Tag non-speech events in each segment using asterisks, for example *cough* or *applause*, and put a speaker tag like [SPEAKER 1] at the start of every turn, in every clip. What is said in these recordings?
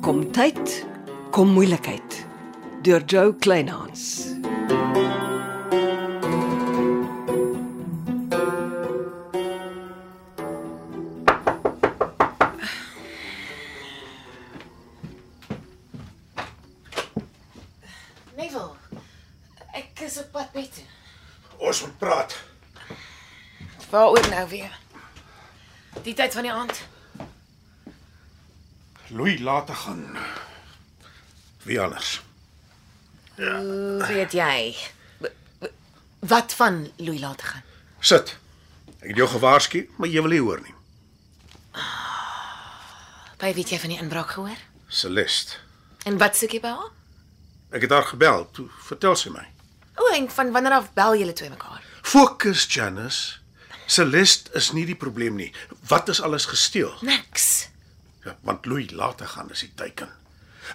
[SPEAKER 1] Gesondheid kom moeilikheid deur Joe Kleinhans.
[SPEAKER 2] Neville, ek is op pad bed toe.
[SPEAKER 3] Ons moet praat.
[SPEAKER 2] Waaroor nou weer? Die tyd van die aand.
[SPEAKER 3] Louis laat gaan. Wie anders?
[SPEAKER 2] Hoe weet jy? W- w- Wat van Louis laat gaan?
[SPEAKER 3] Sit. Ek het jou gewaarsku, maar jy wil nie hoor nie.
[SPEAKER 2] By weet jy van die inbraak gehoor?
[SPEAKER 3] Celeste.
[SPEAKER 2] En wat soek jy by haar?
[SPEAKER 3] Ek het haar gebel, toe vertel sy my.
[SPEAKER 2] O, en van wanneer af bel julle twee mekaar?
[SPEAKER 3] Fokus, Janice. Celeste is nie die probleem nie. Wat is alles gesteel?
[SPEAKER 2] Niks.
[SPEAKER 3] Ja, want Louis laat gaan is die teken.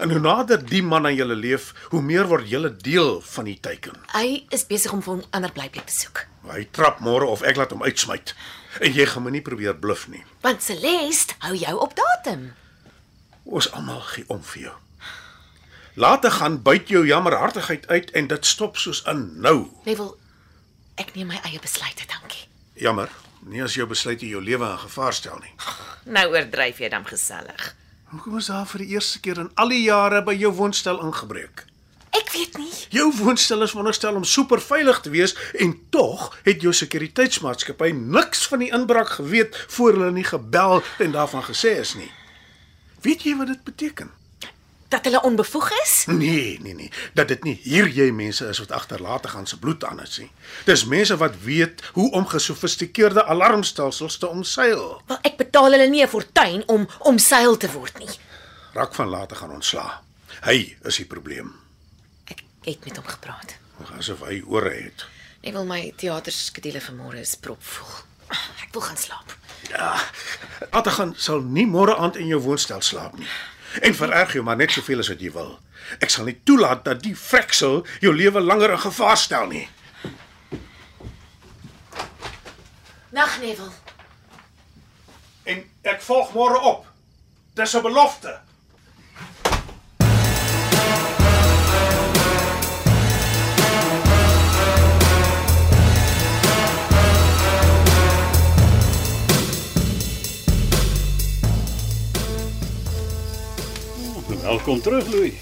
[SPEAKER 3] En hoe nader die man aan julle leef, hoe meer word julle deel van die teken.
[SPEAKER 2] Hy is besig om vir 'n ander blyplek te soek.
[SPEAKER 3] Hy trap môre of ek laat hom uitsmyt. En jy gaan my nie probeer bluf nie.
[SPEAKER 2] Want Celeste hou jou op datum.
[SPEAKER 3] Ons almal gee om vir jou. Laat dit gaan buit jou jammerhartigheid uit en dit stop soos in nou.
[SPEAKER 2] Neville, ek neem my eie besluite, dankie.
[SPEAKER 3] Jammer, nie as jou besluit jou lewe in gevaar stel nie.
[SPEAKER 2] Nou oordryf jy dan gesellig.
[SPEAKER 3] Hoekom is daar vir die eerste keer in al die jare by jou woonstel ingebreek?
[SPEAKER 2] Ek weet nie.
[SPEAKER 3] Jou woonstel is veronderstel om super veilig te wees en tog het jou sekuriteitsmaatskappy niks van die inbraak geweet voor hulle nie gebel en daarvan gesê is nie. Weet jy wat dit beteken?
[SPEAKER 2] Dat hulle onbevoeg is?
[SPEAKER 3] Nee, nee, nee. Dat dit nie hier jy mense is wat agterlaat gaan se bloed aan is nie. Dis mense wat weet hoe om gesofistikeerde alarmstelsels te omseil.
[SPEAKER 2] Wel, ek betaal hulle nie 'n fortuin om om seil te word nie.
[SPEAKER 3] Raak van later gaan ontslaa. Hy is die probleem.
[SPEAKER 2] Ek het met hom gepraat.
[SPEAKER 3] Asof hy ore het.
[SPEAKER 2] Ek wil my teaterskedule vir môre is propvol. Ah, Ek wil gaan slaap.
[SPEAKER 3] Ja. Later gaan sal nie môre aand in jou woonstel slaap nie. En vererg jou maar net soveel as wat jy wil. Ek sal nie toelaat dat die freksel jou lewe langer in gevaar stel nie.
[SPEAKER 2] Nag, Neville.
[SPEAKER 3] En ek volg môre op. Dis 'n belofte.
[SPEAKER 4] Welkom terug, Louis.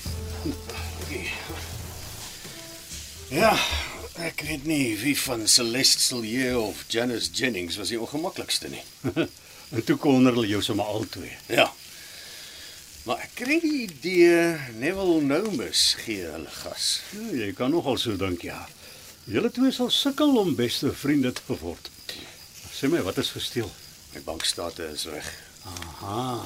[SPEAKER 5] Ja, ek weet nie wie van Celeste Silje of Janice Jennings was die ongemaklikste *laughs* nie.
[SPEAKER 4] En toe konner hulle jou sommer albei.
[SPEAKER 5] Ja. Maar ek kry die idee Neville Nomus gee hulle gas.
[SPEAKER 4] Ja, jy kan nogal so dink, ja. Julle twee sal sukkel om beste vriende te word. Sê my, wat is gesteel?
[SPEAKER 5] My bankstate is weg.
[SPEAKER 4] Aha.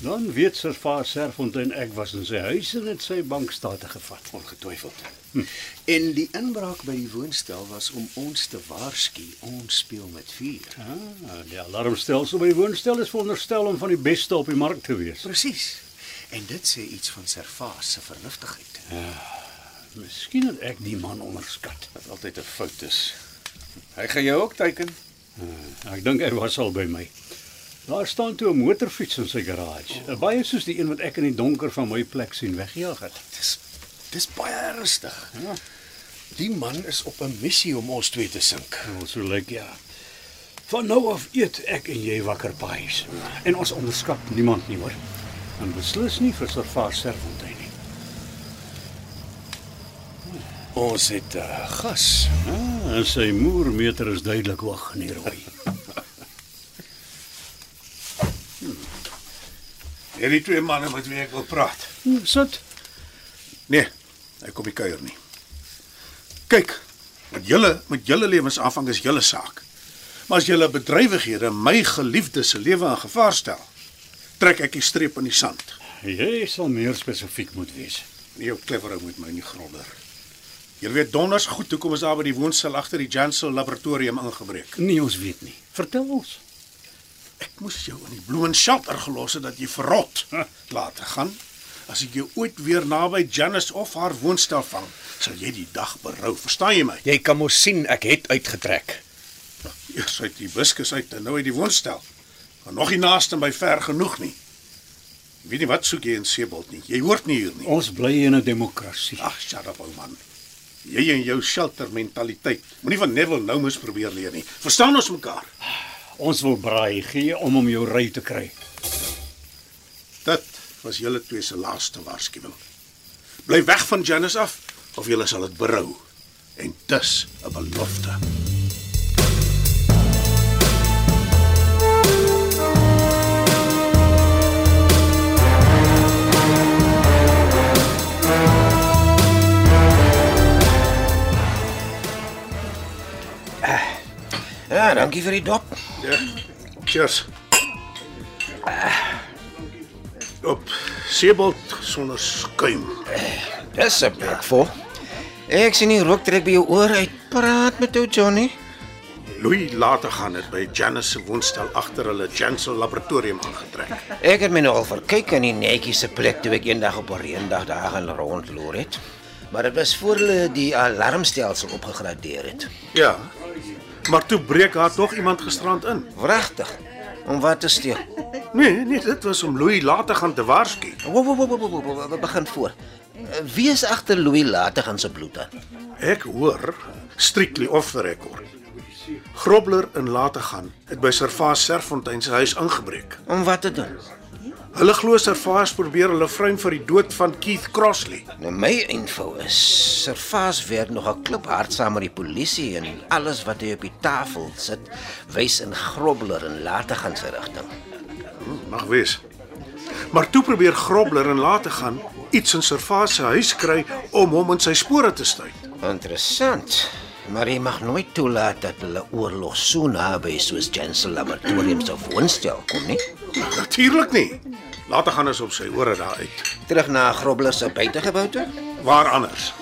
[SPEAKER 4] Dan weet Sir Vaar Serfontein ek was in sy huis en het sy bankstate gevat.
[SPEAKER 5] Ongetwyfeld. Hm. En die inbraak by die woonstel was om ons te waarsku. Ons speel met vuur.
[SPEAKER 4] Ah, die alarmstelsel by die woonstel is veronderstel om van die beste op die mark te wees.
[SPEAKER 5] Presies. En dit sê iets van Servaas se vernuftigheid.
[SPEAKER 4] Miskien het ek die man onderskat.
[SPEAKER 5] Wat altyd 'n fout is. Hy gaan jou ook teiken.
[SPEAKER 4] Eh, Ek dink hy was al by my. Daar staan toe 'n motorfiets in sy garage.
[SPEAKER 5] Oh.
[SPEAKER 4] Baie soos die een wat ek in die donker van my plek sien weggejaag het.
[SPEAKER 5] Dis dis baie ernstig. Ja. Die man is op 'n missie om ons twee te sink.
[SPEAKER 4] Wel, So lyk ja. Van nou af eet ek en jy wakker paaies. En ons onderskat niemand nie hoor. En beslis nie vir Servaar Serfontein nie.
[SPEAKER 5] Ons het uh, gas.
[SPEAKER 4] Ah, en sy moermeter is duidelik hoog in die rooi.
[SPEAKER 3] Hierdie twee manne met wie ek wil praat.
[SPEAKER 4] Hm, Sit.
[SPEAKER 3] Nee, ek kom nie kuier nie. Kyk, met julle met julle lewens afhang is julle saak. Maar as julle bedrywighede my geliefde se lewe in gevaar stel, trek ek die streep in die sand.
[SPEAKER 4] Jy sal meer spesifiek moet wees.
[SPEAKER 3] Nie jou klefferig met my nie gronder. Julle weet donders goed hoekom is daar by die woonstel agter die Jansel laboratorium ingebreek.
[SPEAKER 4] Nee, ons weet nie. Vertel ons.
[SPEAKER 3] Ek moes jou in die Bloemend Shelter gelos het dat jy verrot. Laat gaan. As ek jou ooit weer naby Janice of haar woonstel vang, sal jy die dag berou. Verstaan jy my?
[SPEAKER 5] Jy kan mos sien ek het uitgetrek.
[SPEAKER 3] Eers uit die buskus uit en nou uit die woonstel. Maar nog nie naaste by ver genoeg nie. Weet nie wat soek jy in Seebold nie. Jy hoort nie hier nie.
[SPEAKER 4] Ons bly in 'n demokrasie.
[SPEAKER 3] Ag, shut up ou man. Jy en jou shelter mentaliteit. Moenie van Neville nou moes probeer leer nie. Verstaan ons mekaar?
[SPEAKER 4] Ons wil braai gee om om jou ry te kry.
[SPEAKER 3] Dit was julle twee se laaste waarskuwing. Bly weg van Janice af of julle sal dit berou. En dis 'n belofte.
[SPEAKER 6] Ja, dankie vir die dop.
[SPEAKER 3] Ja, Cheers. Op Seebold sonder skuim.
[SPEAKER 6] Dis 'n plek vol. Ek sien nie rook trek by jou oor uit. Praat met ou Johnny.
[SPEAKER 3] Louis later gaan dit by Janice se woonstel agter hulle Jansel laboratorium aangetrek.
[SPEAKER 6] Ek het my nou al verkyk in die netjie se plek toe ek eendag op 'n reendag daar gaan rondloer het. Maar dit was voor hulle die alarmstelsel opgegradeer het.
[SPEAKER 3] Ja. Maar toe breek haar tog iemand gisterand in.
[SPEAKER 6] Wragtig. Om wat te steel.
[SPEAKER 3] Nee, nee, dit was om Louis later gaan te waarsku.
[SPEAKER 6] Wo wo wo wo wo wo wo begin voor. Eh, Wie is agter Louis later gaan se bloed aan?
[SPEAKER 3] Ek hoor strictly off the record. Grobler in later gaan het by Servaas Serfontein se huis ingebreek.
[SPEAKER 6] Om wat te doen?
[SPEAKER 3] Hulle glo Servaas probeer hulle vrein vir die dood van Keith Crossley.
[SPEAKER 6] Nou my info is Servaas werk nog 'n klip hard saam met die polisie en alles wat hy op die tafel sit wys in grobler en later gaan sy rigting.
[SPEAKER 3] Mag wees. Maar toe probeer Grobler in later gaan iets in Servaas se huis kry om hom in sy spore te stuit.
[SPEAKER 6] Interessant. Maar jy mag nooit toelaat dat hulle oorlog so naby soos Jensen Laboratorium se woonstel kom nie.
[SPEAKER 3] Natuurlik nie. Later gaan ons op sy ore daar uit.
[SPEAKER 6] Terug na grobler se buitegebou toe.
[SPEAKER 3] Waar anders?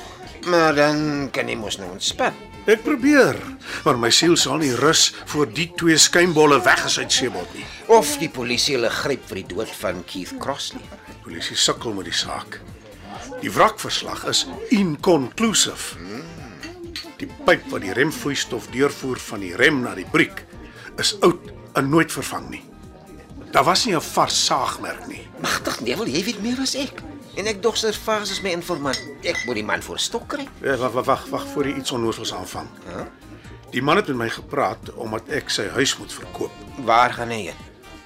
[SPEAKER 6] Maar dan kan jy mos nou ontspan.
[SPEAKER 3] Ek probeer, maar my siel sal nie rus voor die twee skynbolle weg is uit Seebot nie.
[SPEAKER 6] Of die polisie hulle gryp vir die dood van Keith Crossley.
[SPEAKER 3] Die polisie sukkel met die saak. Die wrakverslag is inconclusive. Die pyp wat die remvloeistof deurvoer van die rem na die briek is oud en nooit vervang nie. Daar was nie 'n vars saagmerk nie.
[SPEAKER 6] Magtig Neville, nee, jy weet meer as ek. En ek dog Servaas is my informant. Ek moet die man voor stok kry.
[SPEAKER 3] Eh, Wag, wag, wag, wag voor jy iets onnoosels aanvang. Die man het met my gepraat omdat ek sy huis moet verkoop.
[SPEAKER 6] Waar gaan hy heen?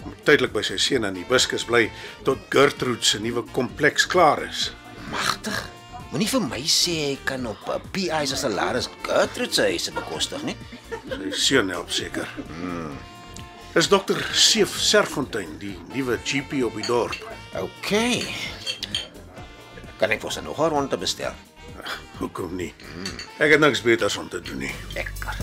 [SPEAKER 3] Moet Tydelik by sy seun in die buskus bly tot Gertrude se nuwe kompleks klaar is.
[SPEAKER 6] Magtig. Moenie vir my sê hy kan op eh, 'n PI se salaris Gertrude se huis bekostig nie.
[SPEAKER 3] Sy seun help seker. Dis dokter Seef Serfontein, die nuwe GP op die dorp.
[SPEAKER 6] OK. Kan ek vir sy nog 'n ronde bestel?
[SPEAKER 3] Ag, Hoekom nie? Ek het niks beters om te doen nie.
[SPEAKER 6] Lekker.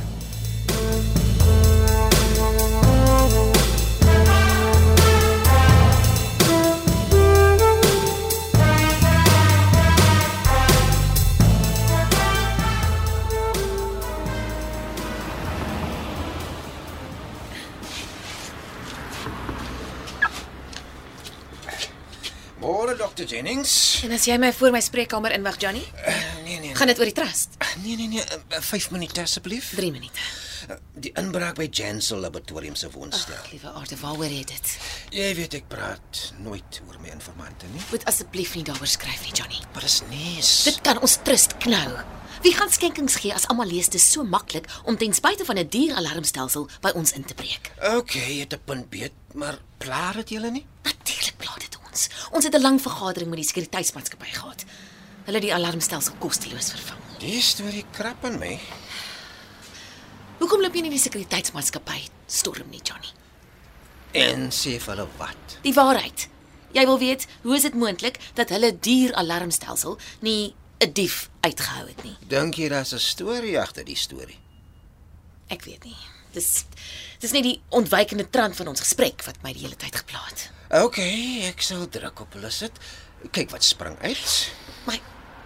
[SPEAKER 6] Môre dokter Jennings.
[SPEAKER 2] En as jy my voor my spreekkamer inwag, Johnny,
[SPEAKER 6] Nee nee.
[SPEAKER 2] gaan dit oor die trust.
[SPEAKER 6] Nee nee nee, 5 minute asseblief.
[SPEAKER 2] 3 minute.
[SPEAKER 6] Die inbraak by Jansel Laboratorium se woonstel.
[SPEAKER 2] Ag, liewe aarde, waaroor het dit?
[SPEAKER 6] Jy weet ek praat nooit oor my informante nie.
[SPEAKER 2] Moet asseblief nie daaroor skryf nie, Johnny.
[SPEAKER 6] Maar dis nes.
[SPEAKER 2] Dit kan ons trust knou. Wie gaan skenkings gee as almal lees dis so maklik om ten spyte van 'n die duur alarmstelsel by ons in te breek?
[SPEAKER 6] Okay, jy het 'n punt beet, maar plaar dit julle nie?
[SPEAKER 2] Natuurlik pla dit ons. Ons het 'n lang vergadering met die sekuriteitsmaatskappy gehad. Hulle het die alarmstelsel kosteloos vervang.
[SPEAKER 6] Die storie krap in my.
[SPEAKER 2] Hoekom loop jy nie die sekuriteitsmaatskappy storm nie, Johnny?
[SPEAKER 6] En sê vir hulle wat?
[SPEAKER 2] Die waarheid. Jy wil weet, hoe is dit moontlik dat hulle duur alarmstelsel nie 'n dief uitgehou het nie?
[SPEAKER 6] Dink jy daar's 'n storie agter die storie?
[SPEAKER 2] Ek weet nie. Dis dis net die ontwykende trant van ons gesprek wat my die hele tyd gepla het.
[SPEAKER 6] Okay, ek sal druk op hulle sit. Kyk wat spring uit.
[SPEAKER 2] Maar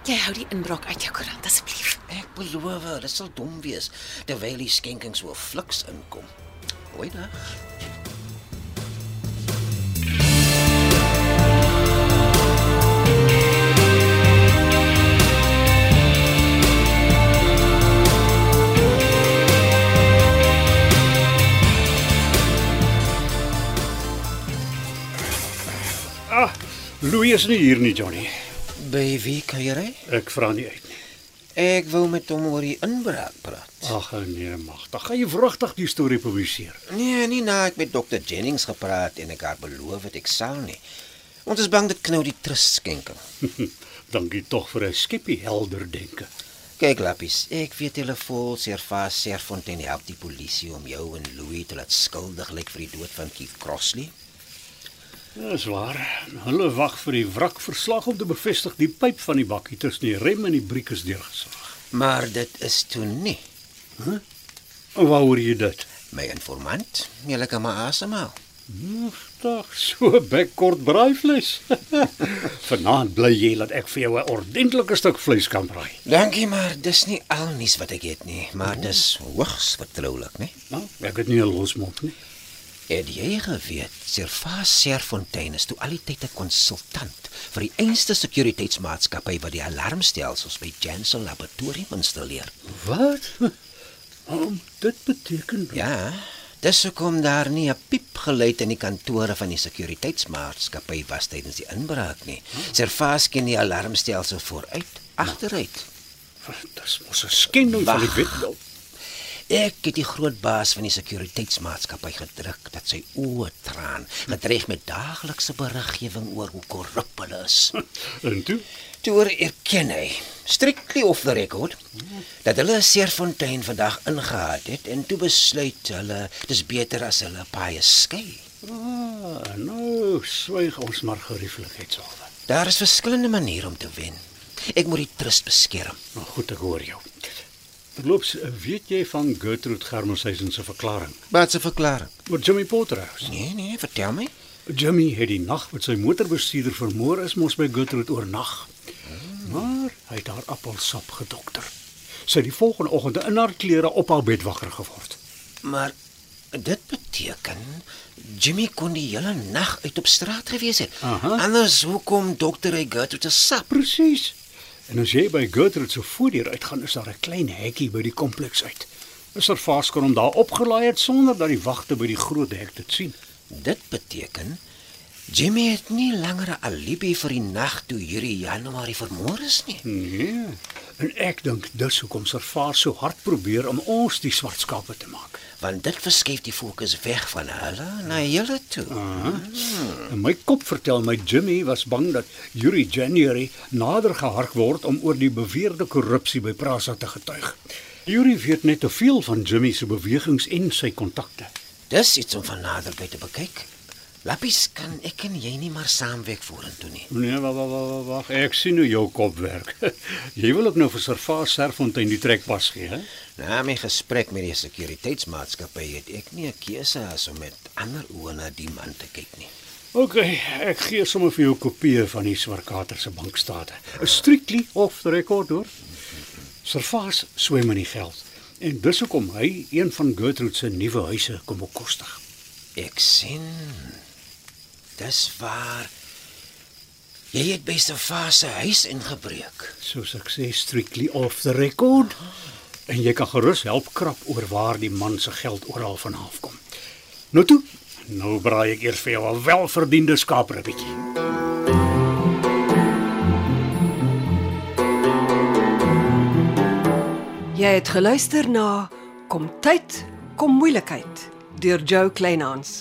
[SPEAKER 2] jy hou die inbraak uit jou koerant asseblief.
[SPEAKER 6] Ek beloof, dit sal dom wees terwyl die skenkings so fliks inkom. Hoi daar.
[SPEAKER 4] Ah, Louis is nie hier nie, Johnny.
[SPEAKER 6] By wie kuier hy?
[SPEAKER 4] Ek vra nie uit nie.
[SPEAKER 6] Ek wil met hom oor die inbraak praat.
[SPEAKER 4] Ag nee, magtig. Gaan jy wragtig die storie publiseer? *laughs*
[SPEAKER 6] Nee, nie na ek met dokter Jennings gepraat en ek haar beloof het ek sal nie. Ons is bang dit knou die trust skenking.
[SPEAKER 4] Dankie tog vir 'n skeppie helder denke.
[SPEAKER 6] Kyk lappies, ek weet hulle vol Servaas Serfontein help die polisie om jou en Louis te laat skuldig lyk vir die dood van Keith Crossley.
[SPEAKER 4] Dis Ja, waar. Hulle wag vir die wrakverslag om te bevestig die pyp van die bakkie tussen die rem en die briek is deurgesaag.
[SPEAKER 6] Maar dit is toe nie
[SPEAKER 4] En waaroor jy dit?
[SPEAKER 6] my informant. Jy kan maar asemhaal.
[SPEAKER 4] Magtig, so bekkort braaivleis. *laughs* Vanaand bly jy dat ek vir jou 'n ordentlike stuk vleis kan braai.
[SPEAKER 6] Dankie, maar dis nie al nuus wat ek het nie, maar dis hoogs vertroulik, né?
[SPEAKER 4] Nou, ek het nie 'n losmond nie.
[SPEAKER 6] Het jy geweet Servaas Serfontein is toe al die tyd 'n konsultant vir die einste sekuriteitsmaatskappy wat die alarmstelsels by Janssen Laboratorium installeer?
[SPEAKER 4] Wat? *laughs* Om dit beteken
[SPEAKER 6] Ja, dis hoekom daar nie 'n piep geluid in die kantore van die sekuriteitsmaatskappy was tydens die inbraak nie. Servaas ken die alarmstelsel vooruit, agteruit.
[SPEAKER 4] Ja, dis mos 'n skending van die wet.
[SPEAKER 6] Ek het die groot baas van die sekuriteitsmaatskappy gedruk dat sy oë traan, gedreig met daaglikse beriggewing oor hoe korrup hulle is.
[SPEAKER 4] *laughs* En toe?
[SPEAKER 6] Toe erken hy, strictly off the record, dat hulle Seerfontein vandag ingehaat het en toe besluit hulle dis beter as hulle paai skei.
[SPEAKER 4] Ah, nou swyg ons maar gerieflikheidshalwe.
[SPEAKER 6] Daar is verskillende maniere om te wen. Ek moet die trust beskerm.
[SPEAKER 4] Nou goed, ek hoor jou. Verloops, weet jy van Gertrude Germoshuisen se verklaring
[SPEAKER 6] Wat se verklaring?
[SPEAKER 4] oor Jimmy Potterhouse?
[SPEAKER 6] Nee, nee, vertel my.
[SPEAKER 4] Jimmy het die nag wat sy motorbestuurder vermoor is mos by Goodwood oornag. Maar hy het haar appelsap gedokter. Sy het die volgende oggend in haar klere op haar bed wakker geword.
[SPEAKER 6] Maar dit beteken Jimmy kon die hele nag uit op straat gewees het.
[SPEAKER 4] Aha.
[SPEAKER 6] Anders hoekom dokter hy Gertrude se sap?
[SPEAKER 4] Presies. En as jy by Goodwood se voordeur uitgaan, is daar 'n klein hekkie by die kompleks uit. 'n Servaas kon hom daar opgelaai het sonder dat die wagte by die groot hek dit sien.
[SPEAKER 6] Dit beteken Jimmy het nie langer 'n alibi vir die nag toe hierdie Januarie vermoor is nie.
[SPEAKER 4] Nee. En ek dink dis hoekom Servaas so hard probeer om ons die swart skape te maak.
[SPEAKER 6] Want dit verskuif die fokus weg van hulle na julle toe.
[SPEAKER 4] In my kop vertel my Jimmy was bang dat Yuri January nader gehark word om oor die beweerde korrupsie by Prasa te getuig. Yuri weet net te veel van Jimmy se bewegings en sy kontakte.
[SPEAKER 6] Dis iets om van naderby te bekyk. Lappies kan ek en jy nie maar saamwerk vorentoe nie.
[SPEAKER 4] Nee, wag wag wag wag, ek sien hoe jou kop werk. *laughs* Jy wil ook nou vir Servaas Serfontein die trekpas gee, hè?
[SPEAKER 6] Na my gesprek met die sekuriteitsmaatskappy het ek nie 'n keuse as om met ander oë na die man te kyk nie.
[SPEAKER 4] OK, ek gee sommer vir jou kopieë van die Swarkater se bankstate. Strictly off the record hoor. Servaas swem in die geld en dis hoekom hy een van Gertrude se nuwe huise kom bekostig.
[SPEAKER 6] Ek sien. Dis waar. Jy het by Stefas se huis ingebreek.
[SPEAKER 4] So sukses strictly off the record. En jy kan gerus help krap oor waar die man se geld oral vanaf kom. Nou toe, nou braai ek eers vir jou 'n welverdiende skaapribbetjie.
[SPEAKER 1] Jy het geluister na Kom tyd, kom moeilikheid deur Jo Kleinhans.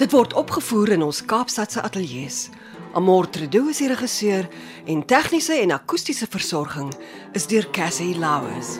[SPEAKER 1] Dit word opgevoer in ons Kaapstadse ateljee se. Amortredo is die regisseur en tegniese en akoestiese versorging is deur Cassie Lauers.